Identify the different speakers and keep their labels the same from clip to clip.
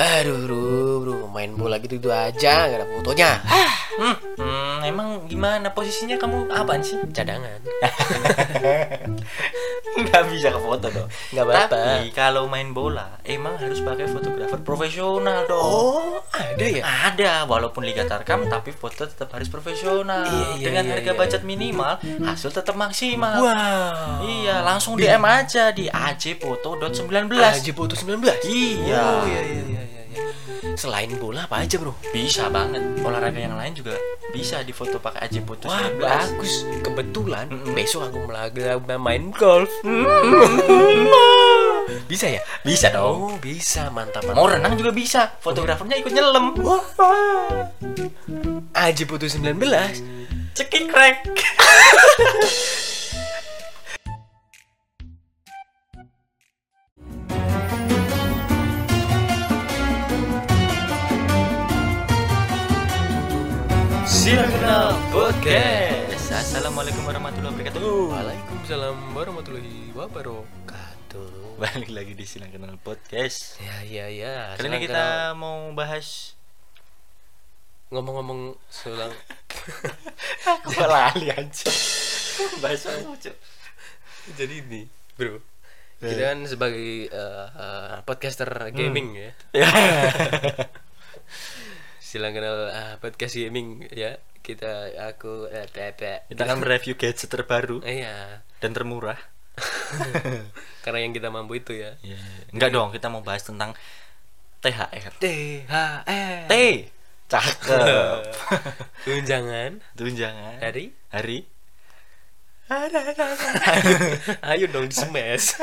Speaker 1: Aduh, bro, bro, main bola gitu gitu aja, nggak ada fotonya. Hah,
Speaker 2: Hmm, hmm, emang gimana posisinya kamu apaan sih?
Speaker 1: cadangan.
Speaker 2: Nggak bisa ke foto dong.
Speaker 1: Nggak apa-apa.
Speaker 2: Tapi kalau main bola emang harus pakai fotografer profesional dong.
Speaker 1: Oh, ada ya?
Speaker 2: Ada, walaupun liga tarkam tapi foto tetap harus profesional.
Speaker 1: Iya, iya,
Speaker 2: Dengan
Speaker 1: iya,
Speaker 2: harga
Speaker 1: iya.
Speaker 2: budget minimal, hasil tetap maksimal.
Speaker 1: Wow.
Speaker 2: Iya, langsung DM aja di ajfoto.19.
Speaker 1: Haji Putu 19.
Speaker 2: Iya.
Speaker 1: Oh, iya, iya, iya, iya, iya. Selain bola apa aja, Bro?
Speaker 2: Bisa banget. Olahraga yang lain juga bisa difoto pakai ajfoto
Speaker 1: Wah,
Speaker 2: 19.
Speaker 1: bagus. Kebetulan besok aku melaga main golf. bisa ya?
Speaker 2: Bisa dong.
Speaker 1: Oh, bisa. Mantap, mantap.
Speaker 2: Mau renang juga bisa. Fotografernya ikut nyelam.
Speaker 1: Haji Putu 19.
Speaker 2: Cekikrek. Silakan kenal podcast. Assalamualaikum warahmatullahi wabarakatuh.
Speaker 1: Waalaikumsalam warahmatullahi wabarakatuh.
Speaker 2: Balik lagi di Silakan kenal podcast.
Speaker 1: Ya, ya, ya.
Speaker 2: Kali ini
Speaker 1: Sekarang
Speaker 2: kita mau bahas
Speaker 1: kalau ngomong-ngomong selang
Speaker 2: Gua lali aja. bahas apa, Cuk?
Speaker 1: jadi ini, Bro. Kita kan sebagai eh, eh, podcaster
Speaker 2: Hmm.
Speaker 1: gaming ya. Silang kenal eh, podcast gaming ya. Kita aku eh, Pepe.
Speaker 2: Kita kan akan mereview gadget terbaru
Speaker 1: Iya.
Speaker 2: dan termurah.
Speaker 1: Karena yang kita mampu itu ya.
Speaker 2: Enggak dong, kita mau bahas tentang THR. T. E.
Speaker 1: THR.
Speaker 2: Cakep.
Speaker 1: Tunjangan
Speaker 2: Tunjangan.
Speaker 1: dari
Speaker 2: Hari.
Speaker 1: Ayo dong di smash.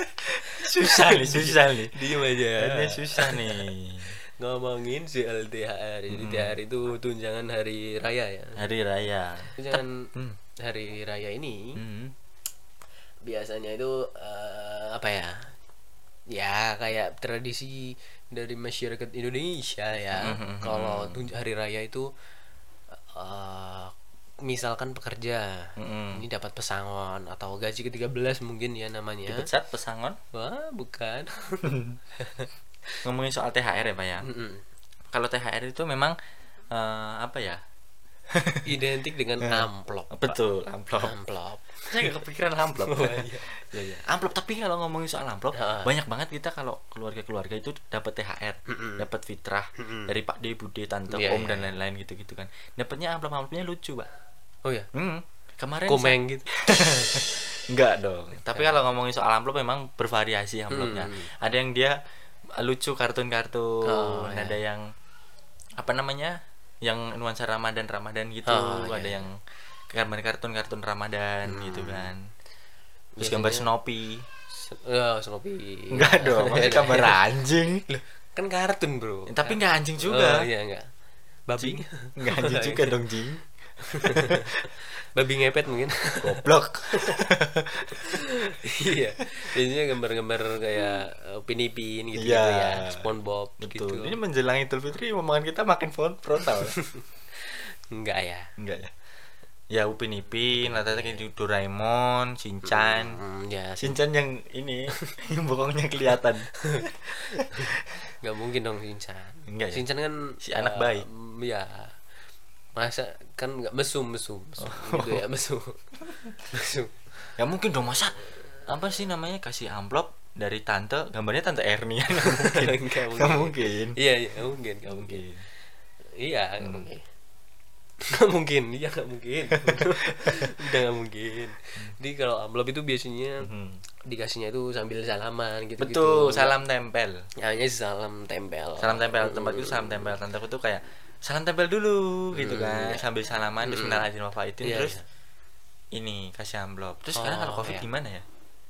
Speaker 2: Susah nih, susah nih.
Speaker 1: Diem aja.
Speaker 2: Ini susah nih.
Speaker 1: ngomongin soal THR jadi
Speaker 2: Hmm.
Speaker 1: THR itu tunjangan hari raya ya
Speaker 2: Hari raya.
Speaker 1: tunjangan
Speaker 2: Hmm.
Speaker 1: hari raya ini
Speaker 2: Hmm.
Speaker 1: biasanya itu eh, apa ya ya kayak tradisi dari masyarakat Indonesia ya
Speaker 2: Mhm.
Speaker 1: kalau tunj- hari raya itu eh, misalkan pekerja
Speaker 2: Mm-mm.
Speaker 1: ini dapat pesangon atau gaji ke-13 mungkin ya namanya
Speaker 2: Dipecat pesangon
Speaker 1: wah bukan
Speaker 2: ngomongin soal THR ya, Pak ya.
Speaker 1: Mm-mm.
Speaker 2: Kalau THR itu memang eh, apa ya?
Speaker 1: identik dengan amplop
Speaker 2: Betul, Ya. amplop.
Speaker 1: amplop
Speaker 2: Saya gak kepikiran amplop. Iya, iya. Amplop tapi kalau ngomongin soal amplop,
Speaker 1: Ha.
Speaker 2: banyak banget kita kalau keluarga-keluarga itu dapat THR, dapat fitrah dari Pak D, Bude, Tante,
Speaker 1: Iya,
Speaker 2: Om
Speaker 1: iya,
Speaker 2: dan lain-lain gitu-gitu kan. Dapatnya amplop-amplopnya lucu, Pak.
Speaker 1: oh ya
Speaker 2: Hmm. Kemarin
Speaker 1: komeng gitu
Speaker 2: Enggak dong. Hmm, Tapi kalau ngomongin soal amplop memang bervariasi amplopnya. Ada yang dia lucu kartun-kartun,
Speaker 1: Oh, iya.
Speaker 2: ada yang apa namanya? yang nuansa Ramadan Ramadan gitu,
Speaker 1: Oh, iya,
Speaker 2: ada
Speaker 1: iya.
Speaker 2: yang gambar kartun-kartun Ramadan gitu kan. Terus gambar Snoopy.
Speaker 1: Ya, Snoopy.
Speaker 2: Enggak dong, maksudnya gambar anjing.
Speaker 1: Iya, Kan kartun, Bro.
Speaker 2: Tapi enggak anjing
Speaker 1: Oh,
Speaker 2: juga.
Speaker 1: iya, enggak. Babi.
Speaker 2: Enggak anjing juga dong, Jing.
Speaker 1: Babi ngepet mungkin.
Speaker 2: Goblok.
Speaker 1: iya. Biasanya gambar-gambar kayak eh, pinipin gitu, -gitu ya,
Speaker 2: Iya.
Speaker 1: SpongeBob gitu.
Speaker 2: Betul. Ini menjelang Idul Fitri omongan kita makin front- frontal.
Speaker 1: Enggak ya.
Speaker 2: Enggak ya. Ya Upin Ipin, rata-rata kayak di Doraemon, Shinchan.
Speaker 1: Hmm, ya, sih.
Speaker 2: Shinchan yang ini, yang bokongnya kelihatan.
Speaker 1: Enggak mungkin dong Shinchan.
Speaker 2: Enggak ya?
Speaker 1: Shinchan kan
Speaker 2: Si anak
Speaker 1: eh,
Speaker 2: baik.
Speaker 1: Iya. Masa kan enggak mesum, mesum,
Speaker 2: Oh.
Speaker 1: mesum gitu ya, mesum. mesum.
Speaker 2: ya mungkin dong masa apa sih namanya kasih amplop dari tante, gambarnya tante Ernie.
Speaker 1: Nggak
Speaker 2: Nggak mungkin. Nggak mungkin.
Speaker 1: Iya, iya, nggak mungkin, nggak mungkin.
Speaker 2: mungkin.
Speaker 1: Iya, nggak mungkin. Nggak mungkin, iya nggak mungkin. Udah nggak mungkin. Jadi kalau amplop itu biasanya dikasihnya itu sambil salaman gitu.
Speaker 2: Mhm. Hmm. Betul, salam tempel.
Speaker 1: Hanya salam tempel.
Speaker 2: Salam tempel tempat itu salam tempel tanteku tuh kayak salam tempel dulu gitu kan sambil salaman terus minal aidin wal faizin
Speaker 1: Hmm, Iya,
Speaker 2: terus
Speaker 1: iya.
Speaker 2: ini kasih amplop. Terus sekarang
Speaker 1: Oh,
Speaker 2: kalau Covid
Speaker 1: iya.
Speaker 2: gimana ya?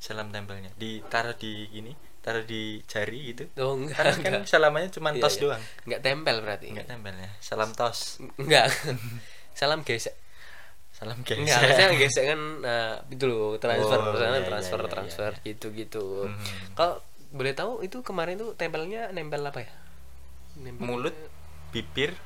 Speaker 2: Salam tempelnya ditaruh di gini, taruh di jari gitu.
Speaker 1: Oh, enggak,
Speaker 2: Karena kan
Speaker 1: enggak.
Speaker 2: salamannya cuma
Speaker 1: Iya,
Speaker 2: tos
Speaker 1: iya.
Speaker 2: doang.
Speaker 1: Enggak tempel berarti.
Speaker 2: Enggak tempelnya. Salam tos.
Speaker 1: Enggak. salam gesek.
Speaker 2: Salam
Speaker 1: Enggak,
Speaker 2: geser.
Speaker 1: harusnya gesek kan eh, itu loh, transfer,
Speaker 2: Oh,
Speaker 1: sana
Speaker 2: iya, iya,
Speaker 1: transfer,
Speaker 2: iya, iya,
Speaker 1: transfer gitu-gitu.
Speaker 2: Mhm.
Speaker 1: Kalau boleh tahu itu kemarin tuh tempelnya nempel apa ya? Nempel
Speaker 2: Mulut, bibir,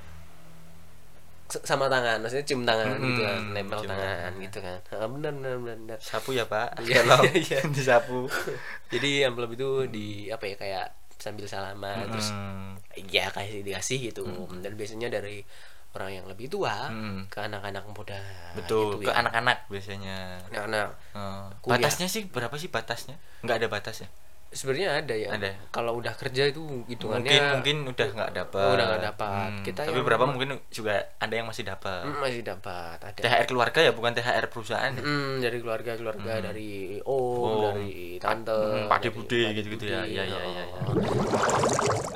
Speaker 1: S- sama tangan maksudnya cium tangan gitu kan
Speaker 2: Mm-mm,
Speaker 1: nempel
Speaker 2: cium
Speaker 1: tangan gitu kan Ah, benar benar benar benar.
Speaker 2: sapu ya, Pak.
Speaker 1: Iya,
Speaker 2: Tolong
Speaker 1: iya, iya.
Speaker 2: disapu. Mm.
Speaker 1: jadi amplop itu di apa ya kayak sambil salaman terus
Speaker 2: Hmm.
Speaker 1: ya kasih dikasih gitu
Speaker 2: Mm.
Speaker 1: dan biasanya dari orang yang lebih tua
Speaker 2: Hmm.
Speaker 1: ke anak-anak muda
Speaker 2: betul
Speaker 1: gitu ya.
Speaker 2: ke
Speaker 1: Nah,
Speaker 2: anak-anak biasanya
Speaker 1: anak-anak
Speaker 2: Oh,
Speaker 1: Kuliah.
Speaker 2: batasnya sih berapa sih batasnya nggak ada batasnya
Speaker 1: sebenarnya ada ya
Speaker 2: Ada.
Speaker 1: kalau udah kerja itu hitungannya Oh,
Speaker 2: mungkin mungkin udah nggak dapat Mm. Hmm,
Speaker 1: udah nggak dapat. Kita
Speaker 2: tapi
Speaker 1: yang-
Speaker 2: berapa mungkin juga ada yang masih dapat
Speaker 1: Hmm, masih dapat ada
Speaker 2: thr keluarga ya bukan thr perusahaan ya?
Speaker 1: Hmm, dari keluarga keluarga dari om,
Speaker 2: Om,
Speaker 1: dari tante
Speaker 2: hmm, Pakde
Speaker 1: dari
Speaker 2: Bude
Speaker 1: Pakde
Speaker 2: gitu-gitu ya.
Speaker 1: Bude,
Speaker 2: Ya, ya, ya, ya.
Speaker 1: oh.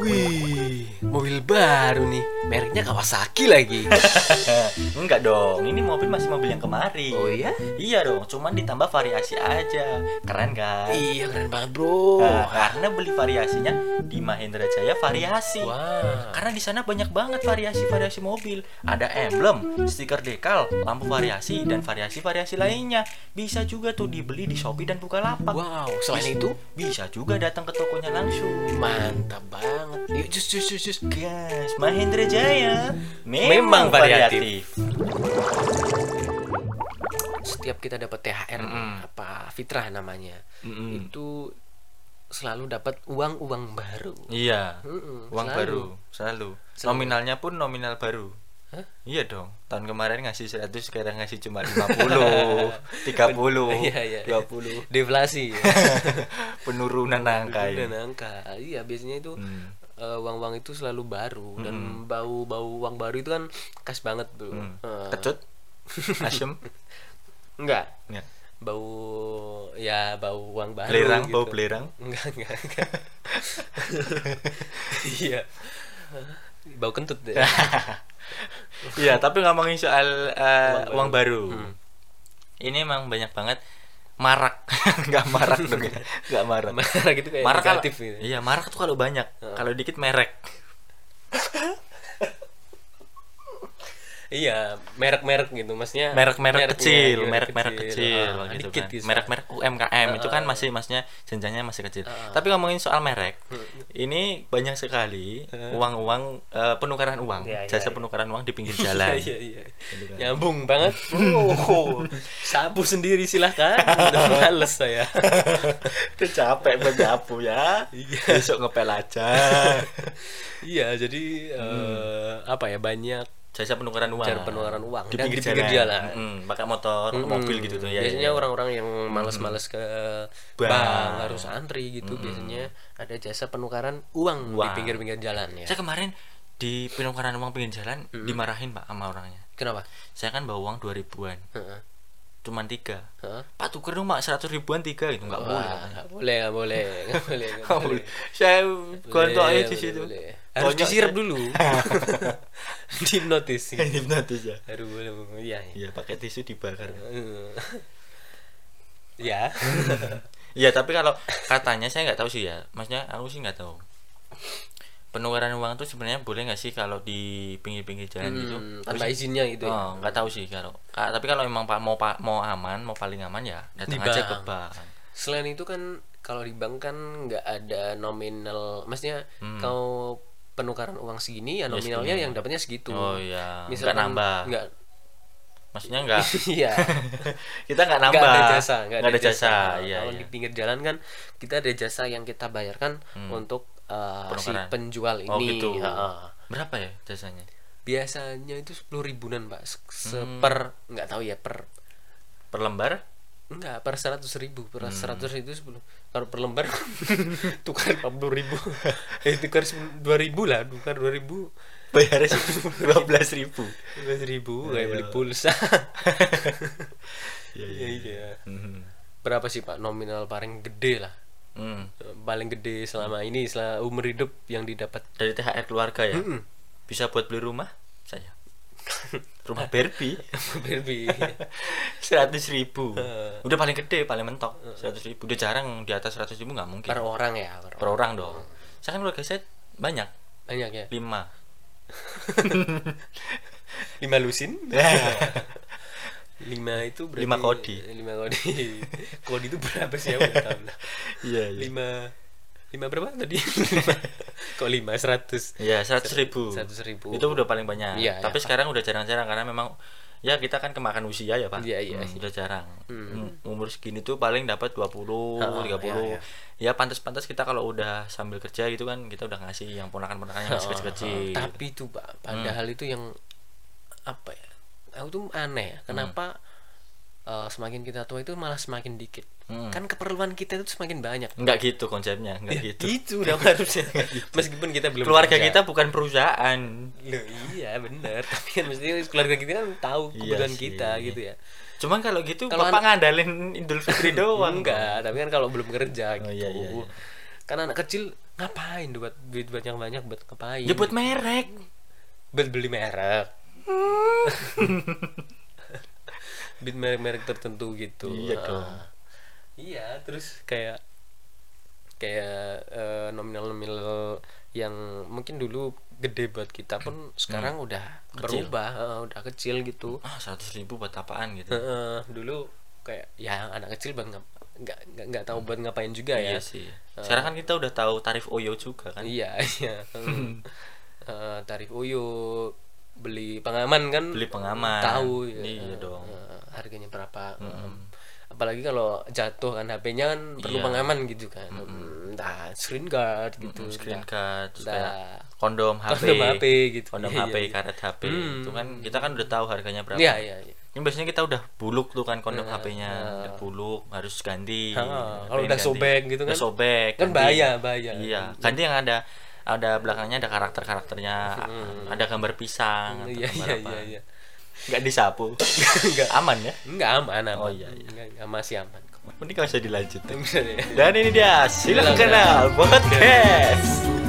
Speaker 1: wih mobil baru nih mereknya Kawasaki lagi
Speaker 2: enggak dong ini mobil masih mobil yang kemarin
Speaker 1: Hmm. oh iya
Speaker 2: iya dong cuman ditambah variasi aja keren kan
Speaker 1: iya keren banget bro
Speaker 2: Nah, karena beli variasinya di Mahendra Jaya variasi
Speaker 1: wah
Speaker 2: Karena di sana banyak banget variasi-variasi mobil. Ada emblem, stiker dekal, lampu variasi dan variasi-variasi lainnya. Bisa juga tuh dibeli di Shopee dan Bukalapak.
Speaker 1: wow selain itu
Speaker 2: Bisa juga datang ke tokonya langsung.
Speaker 1: mantap banget yuk cus cus cus cus
Speaker 2: Gas, Mahendra Jaya
Speaker 1: Memang
Speaker 2: memang,
Speaker 1: variatif.
Speaker 2: variatif.
Speaker 1: setiap kita dapat THR
Speaker 2: Mm-mm. Mm.
Speaker 1: apa fitrah namanya
Speaker 2: Mm-mm.
Speaker 1: itu selalu dapat uang uang baru
Speaker 2: Iya.
Speaker 1: Mm-mm,
Speaker 2: Uang
Speaker 1: selalu.
Speaker 2: baru selalu. Nominalnya pun nominal baru. Iya dong. Tahun kemarin ngasih 100, sekarang ngasih cuma 50, 30,
Speaker 1: Iya, iya.
Speaker 2: 20.
Speaker 1: deflasi ya.
Speaker 2: Penurunan angka ya.
Speaker 1: dan angka iya biasanya itu
Speaker 2: Hmm.
Speaker 1: eh, uang-uang itu selalu baru dan bau-bau uang baru itu kan khas banget bro
Speaker 2: Hmm.
Speaker 1: Eh,
Speaker 2: Kecut? Asem?
Speaker 1: enggak
Speaker 2: Ya.
Speaker 1: bau ya bau uang baru
Speaker 2: Belerang,
Speaker 1: gitu.
Speaker 2: bau belerang.
Speaker 1: enggak enggak enggak iya bau kentut deh
Speaker 2: Iya, tapi ngomongin soal uh,
Speaker 1: Uang
Speaker 2: uang baru.
Speaker 1: Hmm.
Speaker 2: Ini emang banyak banget marak. Enggak marak dong ya. Enggak marak.
Speaker 1: marah gitu kayak
Speaker 2: Marak kalau,
Speaker 1: negatif gitu
Speaker 2: Iya, marak tuh kalau banyak. Kalau dikit merek.
Speaker 1: iya merek-merek gitu maksudnya
Speaker 2: Merek-merek
Speaker 1: mereknya,
Speaker 2: kecil,
Speaker 1: gitu,
Speaker 2: merek-merek kecil,
Speaker 1: Ah,
Speaker 2: gitu
Speaker 1: dikit
Speaker 2: kan.
Speaker 1: gitu.
Speaker 2: Merek-merek UMKM itu
Speaker 1: Ah,
Speaker 2: kan masih maksudnya jenjangnya masih kecil. Tapi ngomongin soal merek,
Speaker 1: Hmm.
Speaker 2: ini banyak sekali uang-uang eh, penukaran
Speaker 1: Ah.
Speaker 2: uang,
Speaker 1: Iya, iya, iya.
Speaker 2: jasa penukaran uang di pinggir
Speaker 1: Iya,
Speaker 2: jalan.
Speaker 1: iya, iya. Nyambung banget. Oh, sapu sendiri silahkan. Udah males saya.
Speaker 2: itu capek buat nyapu ya besok ngepel aja
Speaker 1: iya, jadi eh,
Speaker 2: Hmm.
Speaker 1: apa ya banyak
Speaker 2: jasa penukaran uang
Speaker 1: cara penukaran uang
Speaker 2: di
Speaker 1: dan
Speaker 2: pinggir
Speaker 1: di pinggir jalan.
Speaker 2: jalan Mm, pakai motor mobil gitu tuh ya
Speaker 1: Hmm. biasanya
Speaker 2: ya.
Speaker 1: orang-orang yang males-males ke bank.
Speaker 2: Bank.
Speaker 1: harus antri gitu
Speaker 2: Hmm.
Speaker 1: biasanya ada jasa penukaran uang di
Speaker 2: Uang.
Speaker 1: pinggir-pinggir jalan ya.
Speaker 2: saya kemarin di penukaran uang pinggir jalan dimarahin pak sama orangnya
Speaker 1: Kenapa?
Speaker 2: saya kan bawa uang dua ribuan
Speaker 1: Heeh.
Speaker 2: cuman tiga
Speaker 1: Heeh.
Speaker 2: pak tuker dong pak seratus ribuan tiga gitu nggak boleh
Speaker 1: Wah, nggak boleh, nggak boleh, nggak boleh, nggak
Speaker 2: Nggak
Speaker 1: boleh.
Speaker 2: boleh. saya
Speaker 1: Boleh,
Speaker 2: gontoknya di
Speaker 1: boleh,
Speaker 2: situ
Speaker 1: boleh. Harus
Speaker 2: Konyol,
Speaker 1: disirap
Speaker 2: saya-
Speaker 1: dulu. di notis.
Speaker 2: Kayak hipnotis ya
Speaker 1: Harus boleh, boleh. Iya. iya.
Speaker 2: iya pakai tisu dibakar
Speaker 1: Ya.
Speaker 2: Iya tapi kalau katanya saya nggak tahu sih ya, maksudnya aku sih nggak tahu. Penukaran uang tuh sebenarnya boleh nggak sih kalau di pinggir-pinggir jalan gitu?
Speaker 1: Hmm, tanpa izinnya gitu ya.
Speaker 2: Oh, nggak tahu sih kalau. ka- tapi kalau emang pa- mau pa- mau aman, mau paling aman ya datang
Speaker 1: Di
Speaker 2: aja
Speaker 1: bank.
Speaker 2: ke bank.
Speaker 1: Selain itu kan kalau di bank kan nggak ada nominal, maksudnya
Speaker 2: Hmm.
Speaker 1: kau penukaran uang segini ya nominalnya yang dapatnya segitu.
Speaker 2: Oh iya. Nggak
Speaker 1: Misalkan
Speaker 2: nambah.
Speaker 1: Nggak.
Speaker 2: Maksudnya nggak.
Speaker 1: Iya.
Speaker 2: kita nggak
Speaker 1: Nggak
Speaker 2: nambah.
Speaker 1: ada jasa,
Speaker 2: nggak ada jasa. Iya.
Speaker 1: kalau
Speaker 2: iya. Hmm.
Speaker 1: di pinggir jalan kan kita ada jasa yang kita bayarkan untuk eh, si
Speaker 2: Penukaran.
Speaker 1: penjual ini.
Speaker 2: Oh gitu.
Speaker 1: Heeh.
Speaker 2: Berapa ya jasanya?
Speaker 1: biasanya itu sepuluh ribuan pak Se-
Speaker 2: Hmm.
Speaker 1: seper nggak tahu ya per
Speaker 2: Per lembar?
Speaker 1: nggak per seratus ribu per seratus itu sepuluh kalau per lembar tukar empat puluh ribu eh tukar dua ribu lah tukar dua ribu
Speaker 2: Bayarnya dua belas ribu.
Speaker 1: ribu kayak beli pulsa
Speaker 2: Iya
Speaker 1: iya iya
Speaker 2: Hmm.
Speaker 1: berapa sih pak nominal paling gede lah
Speaker 2: Hmm.
Speaker 1: paling gede selama ini selama umur hidup yang didapat
Speaker 2: dari THR keluarga ya
Speaker 1: Mhm.
Speaker 2: bisa buat beli rumah saya rumah Barbie
Speaker 1: Barbie
Speaker 2: seratus ribu udah paling gede paling mentok seratus ribu udah jarang di atas seratus ribu nggak mungkin
Speaker 1: per orang ya per
Speaker 2: per orang dong saya kan keluarga saya banyak
Speaker 1: banyak ya
Speaker 2: lima
Speaker 1: lima lusin Iya. lima itu berarti
Speaker 2: Lima kodi.
Speaker 1: lima kodi kodi itu berapa sih aku nggak tahu lah.
Speaker 2: iya
Speaker 1: lima lima berapa tadi lima kok lima seratus
Speaker 2: Iya seratus ribu.
Speaker 1: 100.000.
Speaker 2: Itu udah paling banyak.
Speaker 1: Iya,
Speaker 2: Tapi
Speaker 1: iya.
Speaker 2: sekarang udah jarang-jarang karena memang ya kita kan kemakan usia ya pak
Speaker 1: Iya, iya,
Speaker 2: Hmm, udah jarang
Speaker 1: Hmm.
Speaker 2: Hmm, umur segini tuh paling dapat 20
Speaker 1: Ah,
Speaker 2: 30
Speaker 1: iya,
Speaker 2: ya pantas-pantas kita kalau udah sambil kerja gitu kan kita udah ngasih yang ponakan-ponakan yang masih kecil-kecil
Speaker 1: Oh, tapi itu pak padahal
Speaker 2: Hmm.
Speaker 1: itu yang apa ya aku tuh aneh ya kenapa eh, semakin kita tua itu malah semakin dikit
Speaker 2: Hmm.
Speaker 1: kan keperluan kita itu semakin banyak Iya,
Speaker 2: nggak gitu konsepnya nggak gitu Iya,
Speaker 1: itu dong harusnya meskipun kita belum
Speaker 2: keluarga
Speaker 1: kerja.
Speaker 2: kita bukan perusahaan
Speaker 1: Loh, iya bener tapi kan mesti keluarga kita kan tahu
Speaker 2: Iya
Speaker 1: kebutuhan
Speaker 2: sih.
Speaker 1: kita gitu ya
Speaker 2: cuman kalau gitu
Speaker 1: Kalau
Speaker 2: bapak ngandalin Idul Fitri doang
Speaker 1: enggak tapi kan kalau belum kerja gitu
Speaker 2: Iya. Oh, iya, iya, iya.
Speaker 1: kan anak kecil ngapain buat duit banyak banyak buat ngapain
Speaker 2: nyebut merek
Speaker 1: buat beli merek beli merek-merek tertentu gitu
Speaker 2: Iya dong.
Speaker 1: Ah. iya terus kayak kayak eh, nominal-nominal yang mungkin dulu gede buat kita pun sekarang udah
Speaker 2: Hmm. Kecil.
Speaker 1: berubah eh, udah kecil gitu
Speaker 2: ah seratus ribu buat apaan gitu
Speaker 1: Heeh, dulu kayak ya anak kecil banget nggak nggak nggak- nggak tahu buat ngapain juga ya
Speaker 2: iya sih sekarang kan kita udah tahu tarif OYO juga kan
Speaker 1: iya iya Hmm. Eh, tarif uyu beli pengaman kan
Speaker 2: Beli pengaman.
Speaker 1: tahu ya.
Speaker 2: Iya dong.
Speaker 1: Eh, harganya berapa apalagi kalau jatuh kan HP-nya kan perlu
Speaker 2: Iya.
Speaker 1: pengaman gitu kan Hmm, nah screen guard gitu
Speaker 2: screen
Speaker 1: Nah,
Speaker 2: guard terus
Speaker 1: Dah.
Speaker 2: kayak kondom HP
Speaker 1: Kondom HP gitu.
Speaker 2: kondom
Speaker 1: Iya,
Speaker 2: HP
Speaker 1: iya.
Speaker 2: karet HP itu kan kita kan udah tahu harganya berapa
Speaker 1: iya iya iya.
Speaker 2: Ini biasanya kita udah buluk tuh kan kondom HP-nya udah buluk harus ganti
Speaker 1: Ha,
Speaker 2: HP
Speaker 1: kalau
Speaker 2: yang
Speaker 1: udah
Speaker 2: ganti.
Speaker 1: sobek gitu
Speaker 2: Udah
Speaker 1: kan.
Speaker 2: sobek
Speaker 1: Kan
Speaker 2: ganti.
Speaker 1: bahaya, bahaya.
Speaker 2: iya ganti yang ada ada belakangnya ada karakter karakternya ada gambar pisang atau
Speaker 1: Hmm. iya
Speaker 2: gambar
Speaker 1: iya
Speaker 2: apa.
Speaker 1: iya iya
Speaker 2: nggak disapu
Speaker 1: Nggak.
Speaker 2: aman ya
Speaker 1: enggak aman aman
Speaker 2: Oh, iya, iya.
Speaker 1: Nggak- nggak, masih aman Iya.
Speaker 2: ini kalau bisa dilanjutin
Speaker 1: Bisa deh.
Speaker 2: dan ini dia silakan kenal podcast